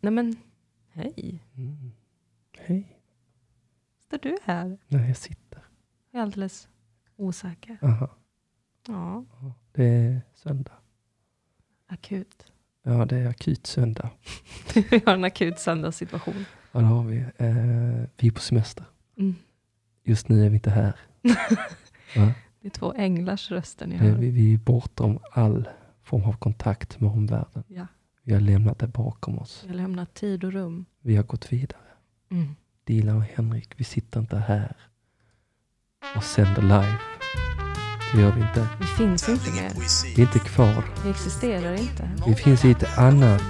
Nej men, hej. Mm. Hej. Står du här? Nej, jag sitter. Jag är alldeles osäker. Aha. Ja, Ja, Det är söndag. akut. Ja, det är akut söndag. Vi har en akut söndagssituation. Ja, det har vi. Eh, vi är på semester. Mm. Just nu är vi inte här. Va? Det är två änglars röster ni Eh, hör. Vi, vi är bortom all form av kontakt med omvärlden. Ja. Vi har lämnat det bakom oss. Vi har lämnat tid och rum. Vi har gått vidare. Mm. Dilan och Henrik, vi sitter inte här och sänder live. Det gör vi inte. Vi finns inte mer. Vi är inte kvar. Vi existerar inte. Vi finns i ett annat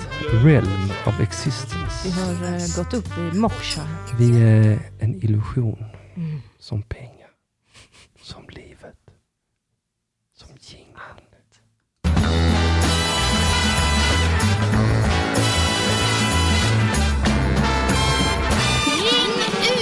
realm of Vi existence. har eh, gått upp i moksha. Vi är en illusion Mm. som pengar, som livet, som jingeln. Ring UP!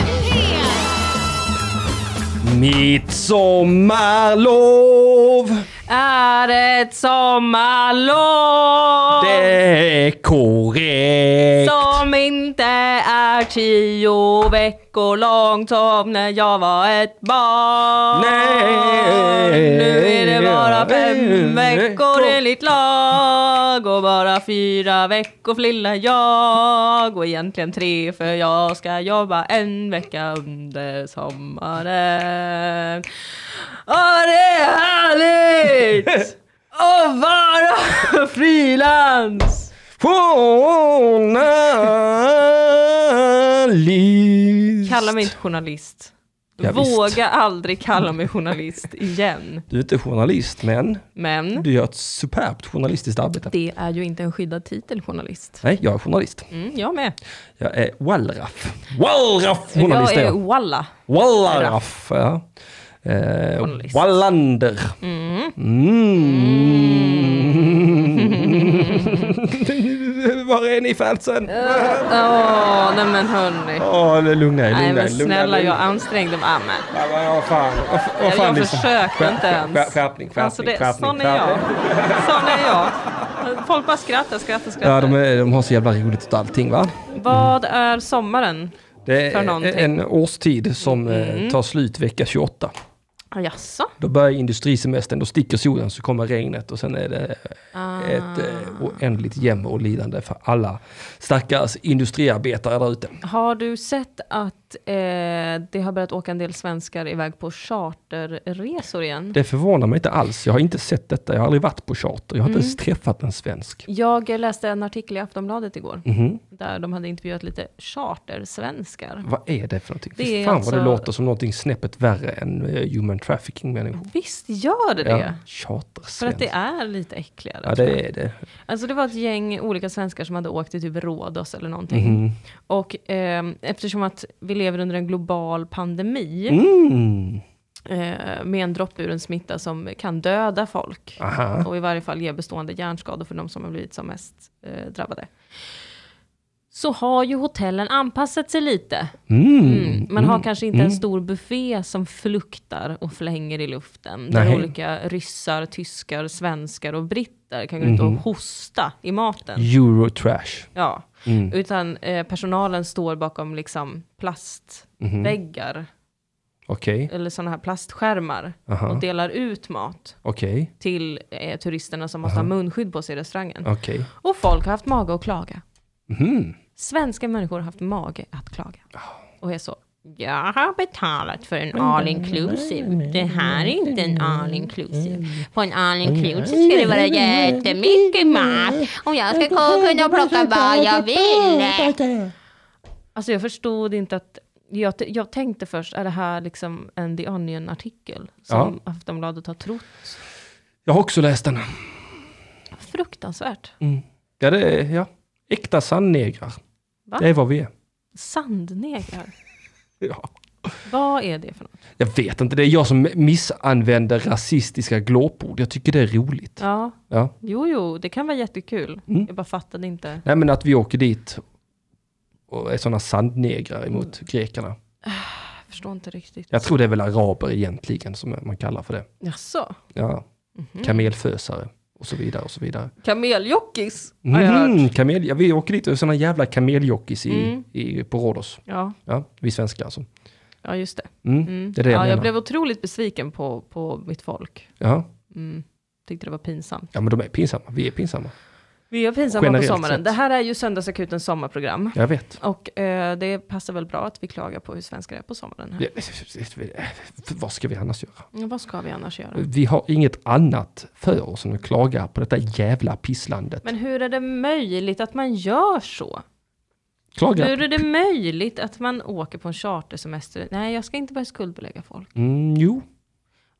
Mitt sommarlov, Är ett sommarlov det är korrekt. som inte är tio veckor långt som när jag var ett barn. Nej. Nu är det bara fem Nej. veckor enligt lag och bara fyra veckor för lilla jag och egentligen tre för jag ska jobba en vecka under sommaren. Åh, det är härligt! Att vara frilans! Journalist. Kalla mig inte journalist. Ja, visst. Våga aldrig kalla mig journalist igen. Du är inte journalist, men Men du gör ett superbt journalistiskt arbete. det är ju inte en skyddad titel journalist. Nej, jag är journalist. Mm, jag med. Jag är wallraff. Wallraff journalist Jag är är jag. walla. Wallraff, ja. Eh, Journalist. Wallander. Mm. Var är ni fansen? Åh, nej men hörni. Åh, lugna er, Nej lugna er. men lugna snälla, er. jag ansträngde mig. Ah, men. Ja, men Vad fan, vad fan, vad Jag- fan jag Lisa? försökte Skär- inte ens. skär- Skärpning, skärpning, Alltså det, skärpning. sån är jag. skärpning. Sån är jag. Folk bara skrattar, skrattar, Ja, de, skrattar. är, de har så jävla roligt åt allting va? Vad är sommaren? Det För är någonting. Mm. en årstid som eh, tar slut vecka 28. Ah, Jaså? Då börjar industrisemestern, då sticker solen, så kommer regnet och sen är det Ah. ett eh, oändligt jämmer och lidande för alla stackars industriarbetare där ute. Har du sett att eh, det har börjat åka en del svenskar iväg på charterresor igen? Det förvånar mig inte alls. Jag har inte sett detta. Jag har aldrig varit på charter. Jag har Mm. inte ens träffat en svensk. Jag läste en artikel i Aftonbladet igår, Mhm. där de hade intervjuat lite chartersvenskar. Vad är det för någonting? Det Fy är fan alltså- vad det låter som någonting snäppet värre än eh, human trafficking människor. Visst gör det det? För att Chartersvensk. det är lite äckligare. Ja, tror jag. det är det. Alltså det var ett gäng olika svenskar som hade åkt till typ Rhodos eller någonting. Mhm. Och ehm, eftersom att vi lever under en global pandemi Mm. eh, med en droppburen smitta som kan döda folk. Aha. och i varje fall ge bestående hjärnskador för de som har blivit som mest eh, drabbade. Så har ju hotellen anpassat sig lite. Mm. Mm. Man har kanske inte en stor buffé som fluktar och flänger i luften. Där Nej. olika ryssar, tyskar, svenskar och britter kan gå ut Mm-hmm. och hosta i maten. Eurotrash. Ja. Mm. Utan eh, personalen står bakom liksom plastväggar Mm-hmm. Okej, eller sådana här plastskärmar Aha. och delar ut mat okej, till eh, turisterna som måste ha munskydd på sig i restaurangen. okej. Och folk har haft mage att klaga. Mhm. Svenska människor har haft mage att klaga. Och är så, jag har betalat för en all inclusive. Det här är inte en all inclusive. På en all inclusive ska det vara jättemycket mat. Och jag ska ko- kunna plocka vad jag vill. Alltså jag förstod inte att, jag, t- jag tänkte först, är det här liksom en The Onion-artikel? Som Aftonbladet har trott. Jag har också läst den. Fruktansvärt. Ja, det är, ja. Äkta sandnegrar. Va? Det är vad vi är. Sandnegrar. Ja. Vad är det för något? Jag vet inte, det är jag som missanvänder rasistiska glåpord. Jag tycker det är roligt. Ja, Ja. Jo, jo, det kan vara jättekul. Jag bara fattade inte. Nej, men att vi åker dit och är sådana sandnegrar Mm. emot grekerna. Jag förstår inte riktigt. Jag tror det är väl araber egentligen som man kallar för det. Jaså? Ja. Kamelfösare Och så vidare och så vidare. Kameljockis har jag hört. Mm, kamel, ja, vi åker dit och är sådana jävla kameljockeys i, Mm. i, på Rhodos. Ja, Ja, vi svenskar alltså. ja just det. Mm, Mm. Det är det jag ja, jag menar. blev otroligt besviken på, på mitt folk. Ja. Mm. Tyckte det var pinsamt. ja, men de är pinsamma. Vi är pinsamma. Vi är pinsamma Generellt på sommaren. sett. Det här är ju Söndagsakutens sommarprogram. Jag vet. Och eh, det passar väl bra att vi klagar på hur svenskar är på sommaren. Här. Det- Vad ska vi annars göra? Ja, Vad ska vi annars göra? Vi har inget annat för oss än att klaga på detta jävla pisslandet. Men hur är det möjligt att man gör så? Klaga? Hur är det möjligt att man åker på en chartersemester? Nej, jag ska inte börja skuldbelägga folk. Mm, jo.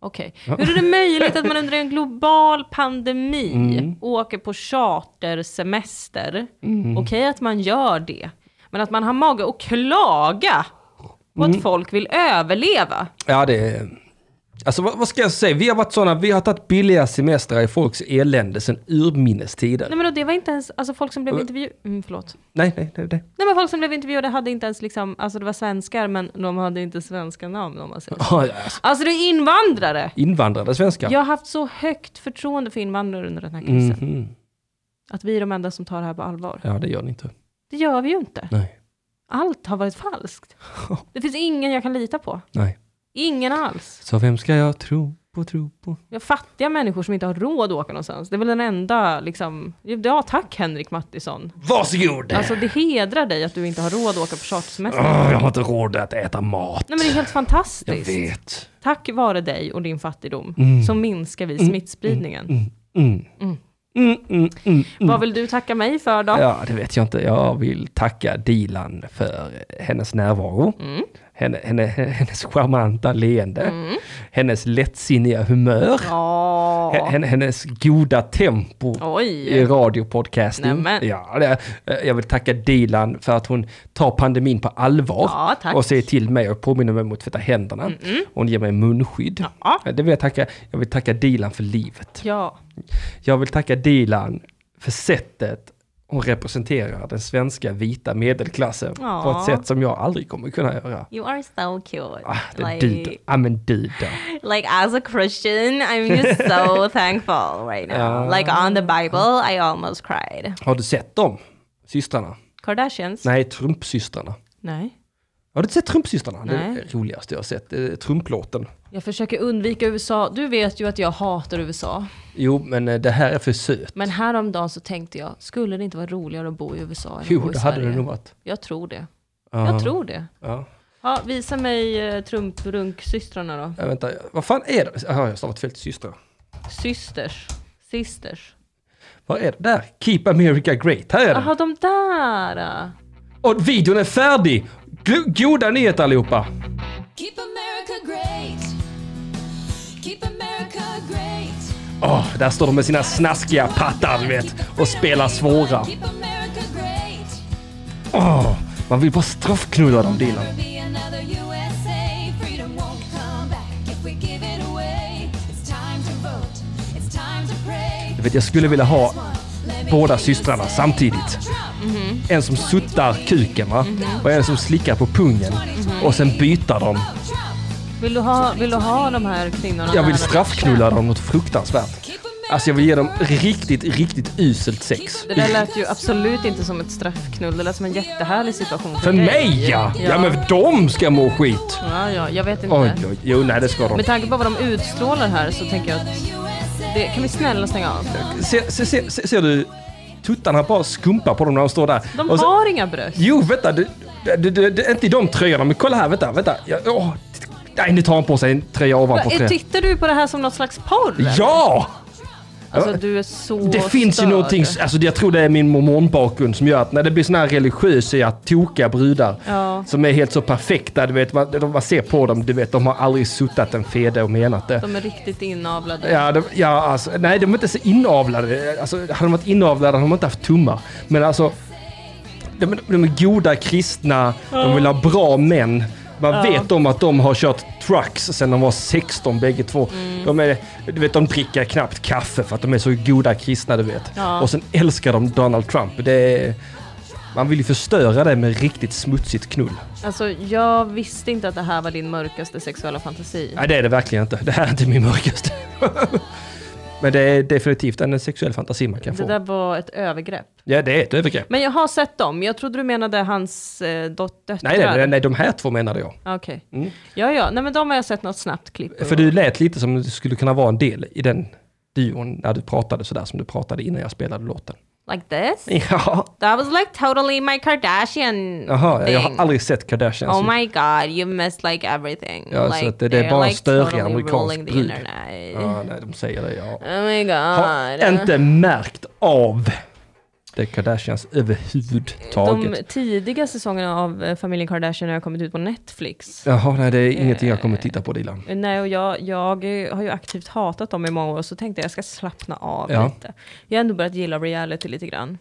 Okej. Hur är det möjligt att man under en global pandemi Mm. åker på chartersemester? Mm. Okej att man gör det, men att man har mage att klaga på Mm. att folk vill överleva. Ja, det är... Alltså vad, vad ska jag säga? Vi har varit sådana, vi har tagit billiga semestrar i folks elände sedan urminnes tider. Nej men då, det var inte ens, alltså folk som blev intervjuade, mm, förlåt. Nej, nej, nej. nej. Nej men folk som blev intervjuade hade inte ens liksom, alltså det var svenskar men de hade inte svenska namn om man säger så. Ja, Alltså, Alltså det är invandrare! invandrade svenskar. Jag har haft så högt förtroende för invandrare under den här krisen. Mhm. Att vi är de enda som tar det här på allvar. Ja, det gör ni inte. Det gör vi ju inte. Nej. Allt har varit falskt. Det finns ingen jag kan lita på. Nej. Ingen alls. Så vem ska jag tro på, tro på? Jag har fattiga människor som inte har råd att åka någonstans. Det är väl den enda liksom... Ja, tack Henrik Mattisson. Varsågod! Alltså det hedrar dig att du inte har råd att åka på chartersemester. Åh, jag har inte råd att äta mat. Nej men det är helt Ah. jag fantastiskt. vet. Tack vare dig och din fattigdom Mm. så minskar vi smittspridningen. Mm, mm. Mm. Mm, mm, mm, mm. Vad vill du tacka mig för då? Ja, det vet jag inte. Jag vill tacka Dilan för hennes närvaro. Mm. Henne, henne, hennes charmanta leende. Mm. Hennes lättsinniga humör. Ja. he- hen- Hennes goda tempo. I Oj. radiopodcasting. Nämen. Ja, det, eh, jag vill tacka Dilan för att hon tar pandemin på allvar. Ja, tack. Mm, och säger till mig och påminner mig om att tvätta händerna. Hon ger mig munskydd. Eh, Ja. Det vill jag, tacka. jag vill tacka Dilan för livet. Ja. Jag vill tacka Dilan för sättet hon representerar den svenska vita medelklassen Ja. på ett sätt som jag aldrig kommer kunna göra. You are so cute. Ah, det duder. Ja men duder. like as a Christian, I'm just so thankful right now. Ah. Like on the Bible, I almost cried. Har du sett dem? Systrarna? Kardashians? Nej, Trumpsystrarna. Nej. Har du inte sett Trumpsystrarna? Det är Nej. det roligaste jag har sett. Eh, Trumplåten. Jag försöker undvika USA. Du vet ju att jag hatar USA. Jo, men eh, det här är för söt. Men häromdagen så tänkte jag, skulle det inte vara roligare att bo i USA än att Jo, bo i det hade Sverige? det nog varit. Jag tror det. Ja. Jag tror det. Ja. Ja, visa mig eh, Trump-runksystrarna då. Ja, vänta, vad fan är det? Jaha, jag har stavat fel till systrar. Systers. Sisters. Vad är det? Där! Keep America Great. Här är den! Jaha, de där! ah. Och videon är färdig! Gl- Goda nyheter allihopa! Keep America great. Keep America great. Åh, där står de med sina snaskiga pattar, du vet, och spelar svåra. Keep America great. Åh, man vill bara straffknulla dem, Dilan. There'll be another USA. Freedom won't come back if we give it away. It's time to vote. It's time to pray. Du vet, jag skulle vilja ha båda systrarna samtidigt. "Oh, En som suttar kuken, va? Mhm. Och en som slickar på pungen. Och sen byta dem. Oh, Vill du ha, vill du ha de här kvinnorna Jag vill nära dig? straffknulla dem något fruktansvärt. Alltså jag vill ge dem riktigt, riktigt uselt sex. Det där lät ju absolut inte som ett straffknull, det lät som en jättehärlig situation för, För dig. mig ja! Ja. Ja men de ska må skit! Ja, ja, jag vet inte. Oj, oj, jo nej det ska de. Med tanke på vad de utstrålar här så tänker jag att det, kan vi snälla stänga av? Se, se, se, se, ser du tuttarna bara skumpa på dem när de står där? De Och så- har inga bröst. Jo vänta, det, det, det, det, det är inte i de tröjorna men kolla här, vänta, vänta. Ja, åh, t- nej nu tar han på sig en tröja ovanpå Va, är- tröjan. Eh, Tittar du på det här som något slags porr? eller? Ja! Alltså du är så Det finns ju störd. någonting, alltså jag tror det är min mormonbakgrund som gör att när det blir såna här religiösa, tokiga brudar Ja. som är helt så perfekta, du vet, man, de- man ser på dem, du vet, de har aldrig suttat en fede och menat det. De är riktigt inavlade. Ja, de, ja alltså, nej de är inte så inavlade. Alltså, hade de varit inavlade hade de inte haft tummar. Men alltså, de, de är goda kristna, de vill ha bra män. Man vet om att de har kört trucks sedan de var 16 bägge två. Mm. De, är, du vet, de dricker knappt kaffe för att de är så goda kristna du vet. Ja. Och sen älskar de Donald Trump. Det är, man vill ju förstöra det med riktigt smutsigt knull. Alltså jag visste inte att det här var din mörkaste sexuella fantasi. Nej det är det verkligen inte. Det här är inte min mörkaste. Men det är definitivt en sexuell fantasi man kan Det få. där var ett övergrepp. Ja, det är ett övergrepp. Men jag har sett dem. Jag trodde du menade hans eh, dot- döttrar. Nej, nej, nej, nej, de här två menade jag. Okej. Mm. Ja, ja. Nej, men de har jag sett något snabbt klipp. För du lät lite som du skulle kunna vara en del i den duon när du pratade sådär som du pratade innan jag spelade låten. Like this? Ja, That was like totally my Kardashian jaha, jag har thing. aldrig sett Kardashians. Oh my god, you missed like everything. Ja, så like, att det- det är they're bara en like störig totally amerikansk ruling the brud. internet. ja, nej, de säger det, ja. Oh my god. Har inte märkt av det Kardashians De överhuvudtaget. tidiga säsongerna av eh, Familjen Kardashian har kommit ut på Netflix. Jaha, nej det är ingenting jag kommer titta på Dilan. Eh, Nej, och jag, jag eh, har ju aktivt hatat dem i många år, och så tänkte jag jag ska slappna av Ja. Mm. lite. Jag har ändå börjat gilla reality lite grann.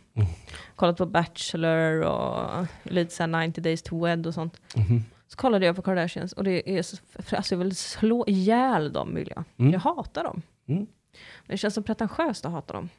Kollat på Bachelor och lite såhär 90 days to wed och sånt. Mhm. Så kollade jag på Kardashians och det är så, för alltså jag vill slå ihjäl dem vill jag. Jag hatar dem. Mm. Det känns så pretentiöst att hata dem.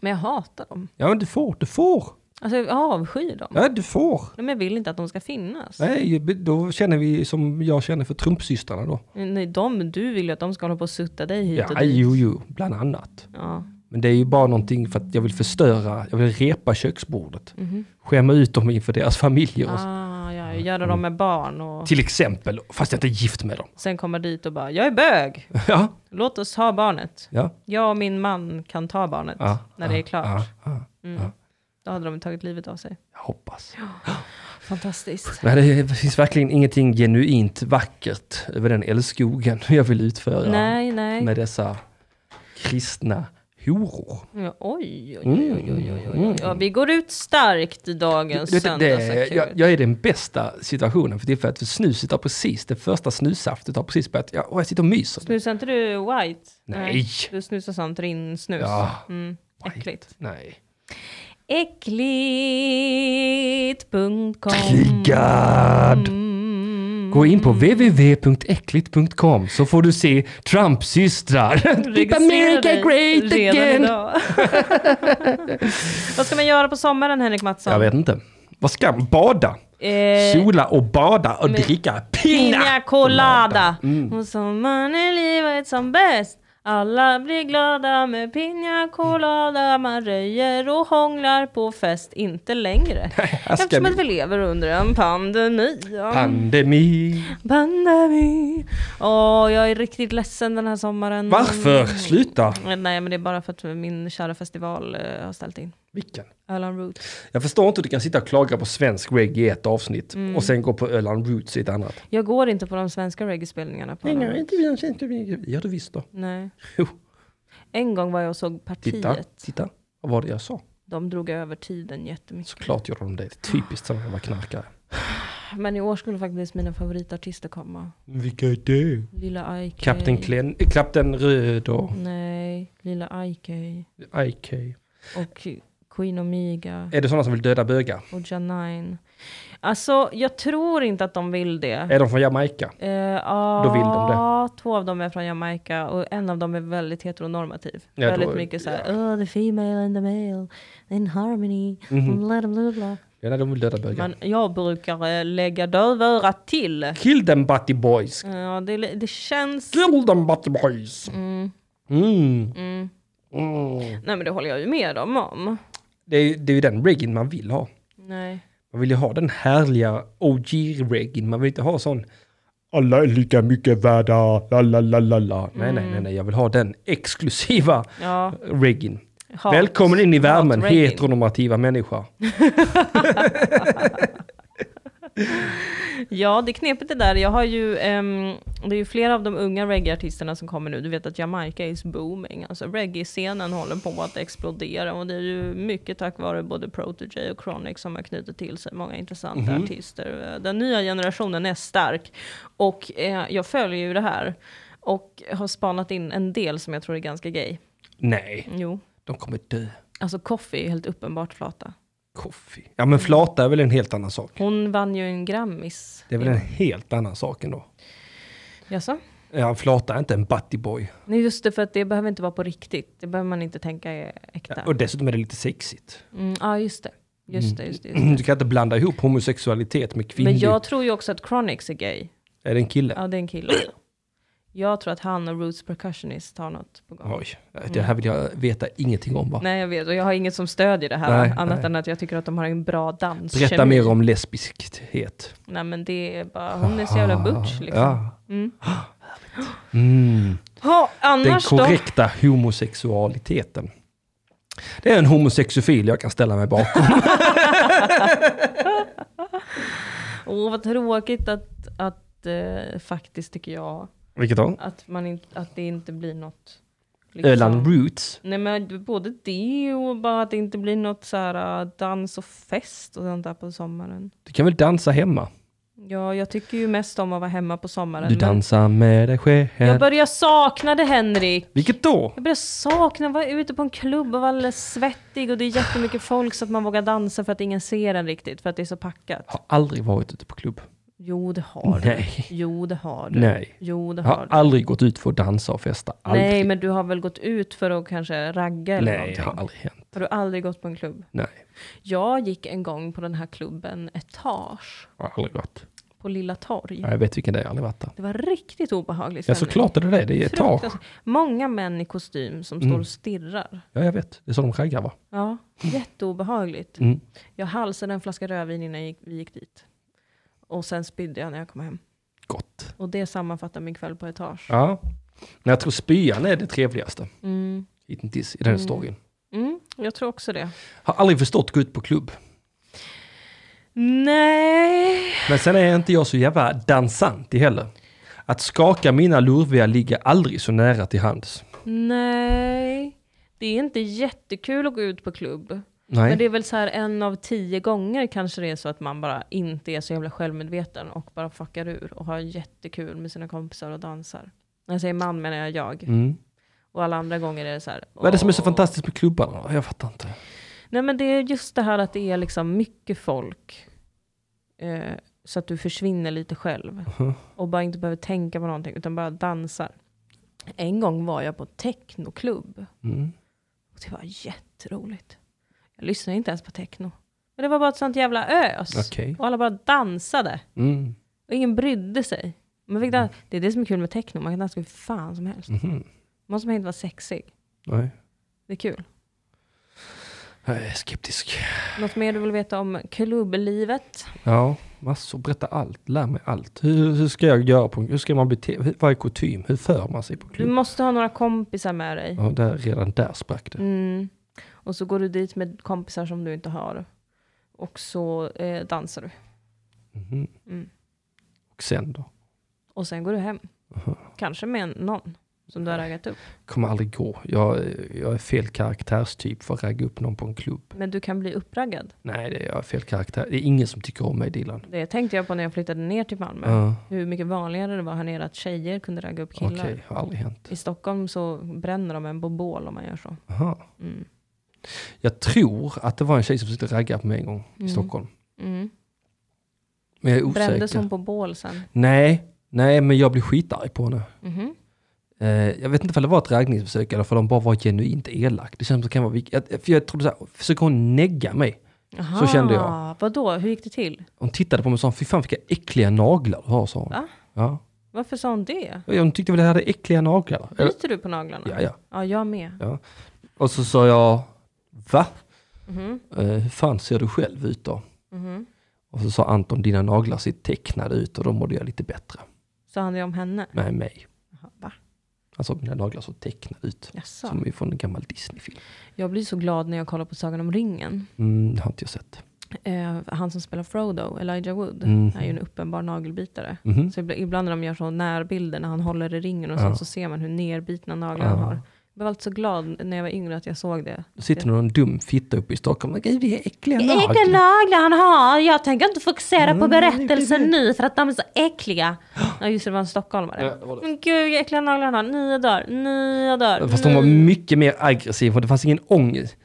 Men jag hatar dem. Ja men du får, du får. Alltså jag avskyr dem. Ja du får. Nej, men jag vill inte att de ska finnas. Nej, då känner vi som jag känner för Trumpsystrarna då. Nej, de, du vill ju att de ska hålla på och sutta dig hit och Ja, dit. jo, jo, bland annat. Ja. Men det är ju bara någonting för att jag vill förstöra, jag vill repa köksbordet. Skämma ut dem inför deras familjer. och så. Mhm. Ah, ja, göra dem med barn och Till exempel, fast jag inte är gift med dem. sen komma dit och bara “Jag är bög, ja, låt oss ha barnet. ja. Ah, Jag och min man kan ta barnet Ja, när det är klart”. ja, ja. Då hade de tagit livet av sig. Jag hoppas. Fantastiskt. Nej, det finns verkligen ingenting genuint vackert över den älskogen jag vill utföra Nej, nej. med dessa kristna horor. Ja, oj, Mm. oj, oj, oj, oj, oj, oj. Ja, vi går ut starkt i dagens Du vet, det, söndagsakut. jag, jag är i den bästa situationen för tillfället, för snuset har precis, det första snussaftet har precis börjat, ja, och jag sitter och myser. Snusar inte du white? Nej. Du snusar sånt rinnsnus. Ja. Mm, äckligt. Nej. Äckligt.com Triggad! Mm. Mm. Gå in på www.äckligt.com så får du se Trump-systrar. Keep America great redan again! idag. Vad ska man göra på sommaren Henrik Mattsson? Jag vet inte. Vad ska man? Bada? Eh, Sola och bada och men- dricka Pina pina! colada. Mm. Och sommaren är livet som bäst. Alla blir glada med pina colada. Man röjer och hånglar på fest. Inte längre. här ska Eftersom vi- att vi lever under en pandemi. Ja. Pandemi. Mm. pandemi. Åh, jag är riktigt ledsen den här sommaren. Varför? Sluta! Nej, men det är bara för att min kära festival eh, har ställt in. Vilken? Öland Roots. Jag förstår inte hur du kan sitta och klaga på svensk reggae i ett avsnitt och sen gå på Öland Roots i ett annat. Jag går inte på de svenska reggae-spelningarna på Öland. inte vi svensk reggae. Ja, du visst då. Nej. Jo, En gång var jag och såg titta, Partiet. titta. Vad var det jag sa? De drog över tiden jättemycket. Såklart gjorde de det. Typiskt sådana jävla knarkare. Men i år skulle faktiskt mina favoritartister komma. Vilka är det? Lilla IK. Kapten Klen, äh, Kapten Röd och Nej, Lilla IK. IK. Och Queen Omega. Är det sådana som vill döda bögar? Och Janine. Alltså, jag tror inte att de vill det. Är de från Jamaica? Eh, ja, Då vill de Två av dem är från Jamaica och en av dem är väldigt heteronormativ. Ja, då- väldigt mycket såhär, oh the female and the male in harmony. Bla, bla, bla, bla. Mhm. Ja, nej, de vill döda bögar. Men jag brukar eh, lägga dövörat till. Kill them butty boys! Eh, Ja, det, det känns... Kill them butty boys! Mm. Nej men det håller jag ju med dem om. Det, är, det är ju den reggaen man vill ha. Nej. Man vill ju ha den härliga OG-reggaen, man vill inte ha sån alla är lika mycket värda, la la la la la. Nej, nej, nej, nej, jag vill ha den exklusiva Ja, reggaen. hat. Välkommen in i värmen, Hat-reggae. heteronormativa människa. Ja, det är knepigt det där. Jag har ju, ehm, det är ju flera av de unga reggae-artisterna som kommer nu. Du vet att Jamaica is booming. Alltså reggae-scenen håller på att explodera och det är ju mycket tack vare både Protege och Chronic som har knutit till sig många intressanta Mhm. artister. Den nya generationen är stark och eh, jag följer ju det här och har spanat in en del som jag tror är ganska gay. Nej, Jo, de kommer dö. alltså Coffee är helt uppenbart flata. Koffi. Ja, men flata är väl en helt annan sak. Hon vann ju en Grammis. Det är väl en helt annan sak ändå. Jaså? Ja, flata är inte en butty boy. Nej just det, för att det behöver inte vara på riktigt. Det behöver man inte tänka är äkta. Och Mm. dessutom är det lite sexigt. Mm, ja just det. Just det, just det. Just det. Du kan inte blanda ihop homosexualitet Men med kvinnlig... jag tror ju också att Chronix är gay. Är det en kille? Ja det är en kille. Jag tror att han och Roots Percussionist har något på gång. Oj, det här vill jag veta ingenting om va? Mm. Nej, jag vet. Och jag har inget som stödjer det här. Nej, annat nej. än att jag tycker att de har en bra danskemi. Berätta mer om lesbiskhet. Nej, men det är bara... Hon är så jävla butch liksom. Ja. Ah, Ja. Mm. Den annars då? korrekta homosexualiteten. Det är en homosexofil jag kan ställa mig bakom. Åh, vad tråkigt att, att eh, faktiskt tycker jag Vilket då? att, man inte, att det inte blir något. liksom. Öland Roots. Nej men både det och bara att det inte blir något så här eh, dans och fest och sånt där på sommaren. Du kan väl dansa hemma? Ja, jag tycker ju mest om att vara hemma på sommaren. Du men dansar med dig Jag själv. börjar sakna det Henrik. Vilket då? Jag börjar sakna att vara ute på en klubb och vara alldeles svettig och det är jättemycket folk så att man vågar dansa för att ingen ser en riktigt för att det är så packat. Jag har aldrig varit ute på klubb. Jo, det har du. Nej. Jo, det har du. Nej. Jo, det Jag har har du. aldrig gått ut för att dansa och festa. Aldrig. Nej, men du har väl gått ut för att kanske ragga eller Nej, det har någonting? aldrig hänt. Har du aldrig gått på en klubb? Nej, Jag gick en gång på den här klubben Etage jag har aldrig varit. på Lilla Torg. Ja, jag vet vilken det är, jag har aldrig varit där. Det var riktigt obehagligt. Ja, såklart är det det. Det är ett tag. Många män i kostym som Mm. står och stirrar. Ja, jag vet. Det är så de raggar va? Ja, jätteobehagligt. Mm. Jag halsade en flaska rödvin innan jag gick, vi gick dit. Och sen spydde jag när jag kom hem. Gott. Och det sammanfattar min kväll på Etage. Ja. Men jag tror spyan är det trevligaste Mm. hittills i den här storyn. Mm, jag tror också det. Har aldrig förstått gå ut på klubb. Nej. Men sen är inte jag så jävla dansant heller. Att skaka mina lurviga ligger aldrig så nära till hands. Nej. Det är inte jättekul att gå ut på klubb. Nej. Men det är väl så här en av tio gånger kanske det är så att man bara inte är så jävla självmedveten och bara fuckar ur och har jättekul med sina kompisar och dansar. När jag säger man menar jag jag. Mm. Och alla andra gånger är det så här. Vad är det som är så "Åh." fantastiskt med klubbarna? Jag fattar inte. Nej men det är just det här att det är liksom mycket folk. Eh, så att du försvinner lite själv. Mhm. Och bara inte behöver tänka på någonting utan bara dansar. En gång var jag på technoklubb. Mm. Och det var jätteroligt. Jag lyssnade inte ens på techno. Men det var bara ett sånt jävla ös. Okej. Och alla bara dansade. Mm. Och ingen brydde sig. Man fick dan- Det är det som är kul med techno. Man kan dansa hur fan som helst. Mhm. Man måste inte vara sexig. Nej. Det är kul. Jag är skeptisk. Något mer du vill veta om klubblivet? Ja, massor. Berätta allt. Lär mig allt. Hur, hur ska jag göra? På, en- hur ska man bete hur- Vad är kutym? Hur för man sig på Du klubb? måste ha några kompisar med dig. Ja, där, redan där sprack det. Mm. Och så går du dit med kompisar som du inte har. Och så eh, dansar du. Mhm. Mm. Och sen då? Och sen går du hem. Kanske med någon som du har raggat upp. Kommer aldrig gå. Jag, är- jag är fel karaktärstyp för att ragga upp någon på en klubb. Men du kan bli uppraggad. Nej, det är jag är fel karaktär. Det är ingen som tycker om mig, Dilan. Det tänkte jag på när jag flyttade ner till Malmö. Ja, Hur mycket vanligare det var här nere att tjejer kunde ragga upp Okej, killar. har aldrig hänt. I Stockholm så bränner de en på bål om man gör så. Aha. Mm. Jag tror att det var en tjej som försökte ragga på mig en gång i Stockholm. Mm. Men jag är osäker. Brändes hon på bål sen? Nej, nej, men jag blev skitarg på henne. Mhm. Eh, jag vet inte om det var ett raggningsförsök eller för de bara var genuint elak. Det känns som att det kan vara... vilk- Jag, för jag trodde så här, försöker hon negga mig? Aha, Så kände jag. Vadå, hur gick det till? Hon tittade på mig och sa, fy fan vilka äckliga naglar du har, sa hon. Va? Ja. Varför sa hon det? Ja, Hon tyckte väl jag hade äckliga naglar. Eller, Biter du på naglarna? ja, ja. ja jag med. Och så sa jag, va? Mhm. Eh, hur fan ser du själv ut då? Mhm. Och så sa Anton, dina naglar ser tecknade ut och då mådde jag lite bättre. Sa han det om henne? Nej, mig. Jaha, Va? Han sa, mina naglar såg tecknade ut. Jaså. Som är från en gammal Disney-film. Jag blir så glad när jag kollar på Sagan om ringen. Mm, det har inte jag sett. Eh, han som spelar Frodo, Elijah Wood, Mhm. är ju en uppenbar nagelbitare. Mhm. Så ibla- ibland när de gör så närbilder när han håller i ringen och sånt så ser man hur nerbitna naglar han Ja. har. Jag blev alltid så glad när jag var yngre att jag såg det. Då sitter någon dum fitta uppe i Stockholm. Gud, det är äckliga Äckliga naglar. naglar han har. Jag tänker inte fokusera på Mm, det berättelsen är nu för att de är så äckliga. Ja just det, det var en stockholmare. Ja, det var det. Men gud vilka äckliga naglar han har. Nya dagar, nya dagar. Mm. Fast hon var mycket mer aggressiv och det fanns ingen ångest.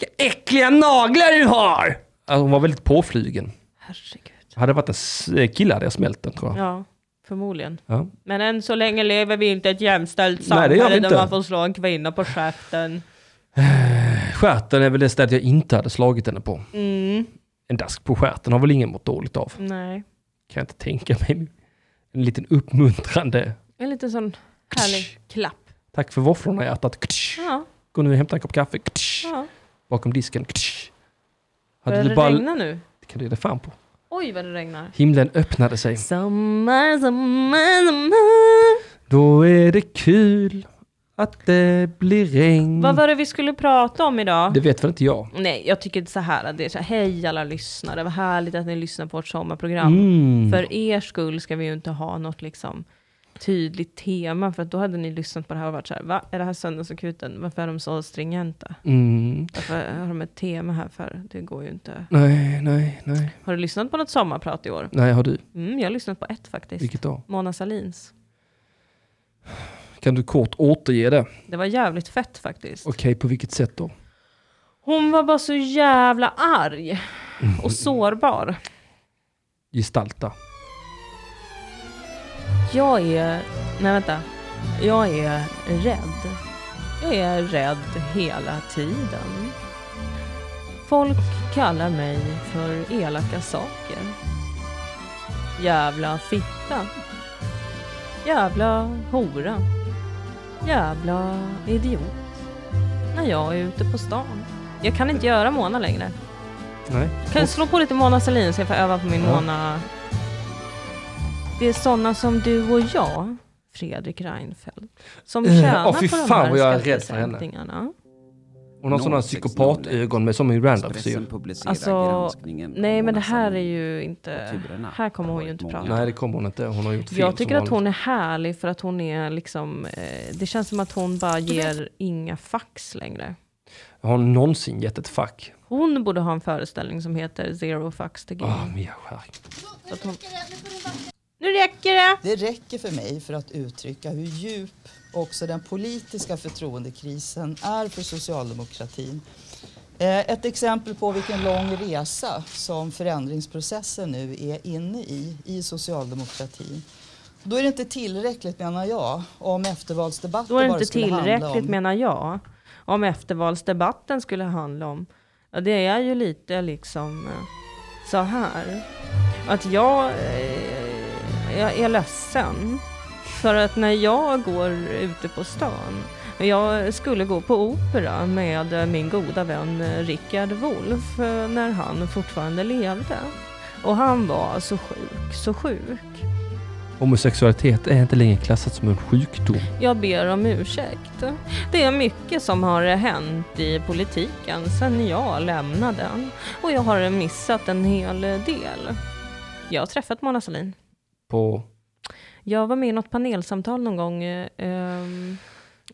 Vilka äckliga naglar du har! Alltså, hon var väldigt påflygen. Herregud. Hade det varit en s- eh, kille hade jag smält den tror jag. Ja, förmodligen. Ja. Men än så länge lever vi inte i ett jämställt Nej, det gör vi samhälle där inte. man får slå en kvinna på käften. Stjärten är väl det stället jag inte hade slagit henne på. Mm, En dask på stjärten har väl ingen mått dåligt av. nej. Kan jag inte tänka mig. En liten uppmuntrande En liten sån härlig klapp. Tack för våfflorna i hjärtat. Ktsch. Ja, Gå nu och hämta en kopp kaffe. Ktsch. ja. Bakom disken. Ktsch. Hade Börjar du det bara... regna nu? Det kan du ge fan på. Oj vad det regnar. Himlen öppnade sig. Sommar, sommar, sommar. Då är det kul att det blir regn. Vad var det vi skulle prata om idag? Det vet väl inte jag. Nej, jag tycker så här att det är så här, hej alla lyssnare, vad härligt att ni lyssnar på vårt sommarprogram. Mm. För er skull ska vi ju inte ha något liksom tydligt tema, för att då hade ni lyssnat på det här och varit så här, va? Är det här söndagsakuten? Varför är de så stringenta? Mm. Varför har de ett tema här för? Det går ju inte. Nej, nej, nej. Har du lyssnat på något sommarprat i år? Nej, har du? Mm, jag har lyssnat på ett faktiskt. Vilket då? Mona Salins. Kan du kort återge det? Det var jävligt fett faktiskt. Okej, på vilket sätt då? Hon var bara så jävla arg och sårbar. Gestalta. Jag är... Nej, vänta. Jag är rädd. Jag är rädd hela tiden. Folk kallar mig för elaka saker. Jävla fitta. Jävla hora. Jävla idiot. När jag är ute på stan. Jag kan inte göra Mona längre. Nej. Kan jag slå på lite Mona Sahlin så jag får öva på min Ja. Mona? Det är sådana som du och jag, Fredrik Reinfeldt, som Eh, tjänar åh, fy på de fan här vad jag är rädd för henne. skattesänkningarna. Hon har sådana 06:00. psykopatögon med som i Randolph-syr. Expressen publicerar Alltså, granskningen av nej men det Mona här är Sahlin. ju inte... Turerna Här kommer har hon ju varit inte många. prata. Nej, det kommer hon inte. Hon har gjort fel Jag tycker som att hon är härlig för att hon är liksom... Eh, det känns som att hon bara ger inga fax längre. vanligt. Har hon någonsin gett ett fack? Hon borde ha en föreställning som heter Zero Fax to Give. Ah, Mia Skärk. Så att hon... Nu räcker det! Det räcker för mig för att uttrycka hur djup också den politiska förtroendekrisen är för socialdemokratin. Eh, Ett exempel på vilken lång resa som förändringsprocessen nu är inne i, i socialdemokratin. Då är det inte tillräckligt, menar jag, om eftervalsdebatten Då är det bara inte skulle handla tillräckligt om- menar jag. Om eftervalsdebatten skulle handla om. Ja, det är ju lite liksom eh, så här. Att jag, eh, jag är ledsen. För att när jag går ute på stan. Jag skulle gå på opera med eh, min goda vän eh, Rickard Wolff eh, när han fortfarande levde. Och han var så sjuk, så sjuk. Homosexualitet är inte längre klassat som en sjukdom. Jag ber om ursäkt. Det är mycket som har hänt i politiken sedan jag lämnade och jag har missat en hel del. Jag har träffat Mona Sahlin. På... Jag var med i något panelsamtal någon gång eh, ehm,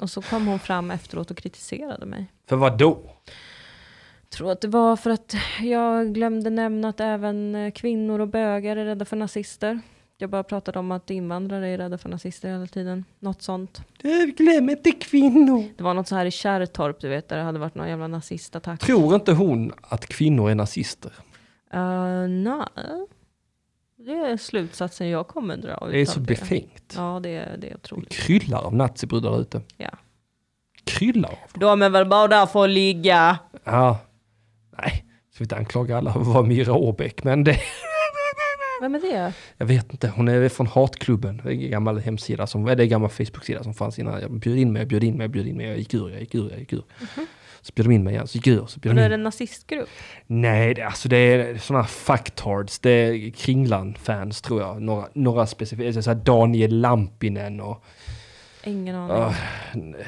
och så kom hon fram efteråt och kritiserade mig. För vad då? tror att det var för att jag glömde nämna att även eh, kvinnor och bögar är rädda för nazister. Jag bara pratade om att invandrare är rädda för nazister hela tiden. Något sånt. Glöm inte kvinnor. Det var något så här i Kärrtorp, du vet, där det hade varit någon jävla nazistattack. Tror inte hon att kvinnor är nazister? Eh, nej. Det är slutsatsen jag kommer dra. Det är utav så befängt. Ja, det, är- det är otroligt. Kryllar av nazibrudar där ute. Ja. Kryllar av dem. De är väl bara där för att ligga. Ja. Nej, ska vi inte anklaga alla för att vara Mira Åbäck, men det... Vem är det? Jag vet inte, hon är från Hatklubben, det är en gammal hemsida, som, eller en gammal Facebook-sida som fanns innan. Jag bjöd in mig, jag bjöd in mig, jag bjöd in mig, jag gick ur, jag gick ur, jag gick ur. Så bjöd de in mig igen, så gick jag ur, så Och bjöd då de är in det en nazistgrupp. Nej, det, alltså det är sådana fucktards. Det är Kringland-fans tror jag. Några, några specifika, så här Daniel Lampinen och Ingen aning. ah,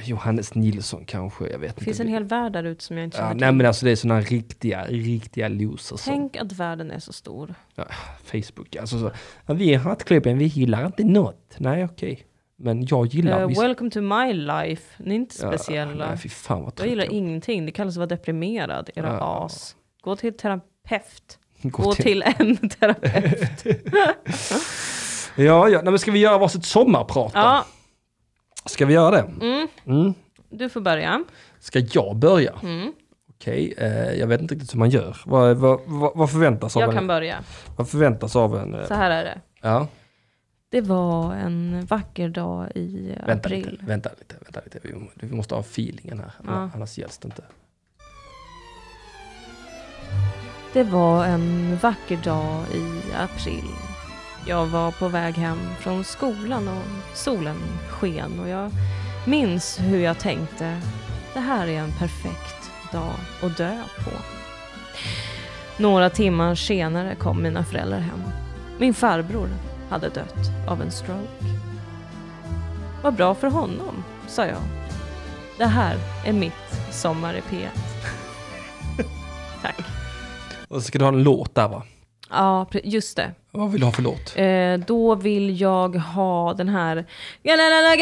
Johannes Nilsson kanske. Jag vet det finns inte. en hel värld där ute som jag inte ja, känner nej till. men alltså det är sådana riktiga, riktiga losers. som- Tänk att världen är så stor. Ja, Facebook, alltså så. Ja, vi är hattklubben, vi gillar inte något. Nej okej. Men jag gillar Eh, visst- welcome to my life. Ni är inte Ja, speciella. Nej fy fan vad jag gillar trött ingenting. Det kallas att vara deprimerad. Era Ja. as. Gå till terapeut. jag Gå till en terapeut. Ja, ja. Nej, men ska vi göra varsitt sommarprat då? Ja, Ska vi göra det? Mm. du får börja. Ska jag börja? Mm. Okej, eh, jag vet inte riktigt hur man gör. Vad, vad, vad, vad, förväntas, av Jag kan en, börja. vad förväntas av en? eh, Så här är det. Ja, Det var en vacker dag i vänta april. lite, vänta lite, vänta lite. Vi, vi måste ha feelingen här, Ja. annars gälls det inte. Det var en vacker dag i april. Jag var på väg hem från skolan och solen sken och jag minns hur jag tänkte. Det här är en perfekt dag att dö på. Några timmar senare kom mina föräldrar hem. Min farbror hade dött av en stroke. Vad bra för honom, sa jag. Det här är mitt Sommar i P1. Tack. Och så ska du ha en låt där va? Ja, pre- just det. Vad vill du ha för låt? Eh, då vill jag ha den här... Gasolina!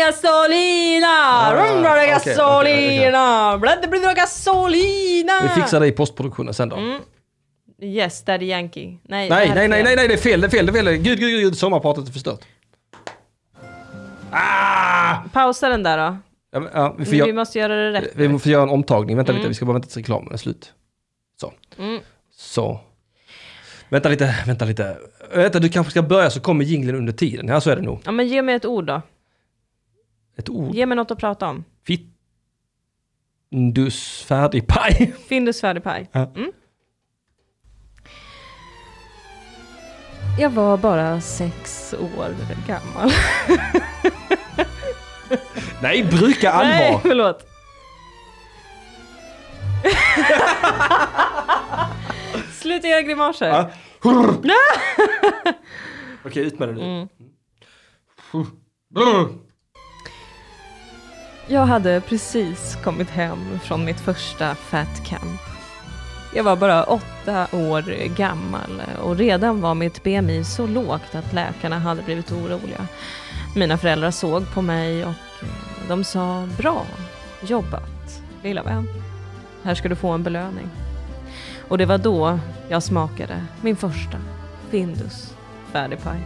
Gasolina! Rum, Ah, rum, okej, okej, Gasolina! Blä, blä, blä, Gasolina! Vi fixar det i postproduktionen sen då. Yes, Daddy Yankee. Nej, Nej, Mm, det här nej, är nej, fel. nej, nej, det är fel, det är fel, det är fel. Gud, gud, gud, sommarpratet är förstört. Ah! Pausa den där då. Ja, men, ja, vi, får Vi göra, måste göra det rätt. vi får göra en omtagning. Vänta lite, vi ska bara vänta tills reklamen är slut. Så. Mm. Så. Vänta lite, vänta lite. Vänta, du kanske ska börja så kommer jingeln under tiden. Ja, så är det nog. Ja, men ge mig ett ord då. Ett ord. Ge mig något att prata om. Findus färdigpaj. Findus färdigpaj. Ja. Mm. Jag var bara sex år gammal. Nej, brukar all Nej, ha. förlåt. Sluta göra grimaser. Ja. Hurr. Okej, ut med det nu. Mm. Mm. Hurr. Brr. Jag hade precis kommit hem från mitt första fat camp. Jag var bara åtta år gammal och redan var mitt BMI så lågt att läkarna hade blivit oroliga. Mina föräldrar såg på mig och eh, de sa bra jobbat lilla vän. Här ska du få en belöning. Och det var då jag smakade min första Findus färdigpaj.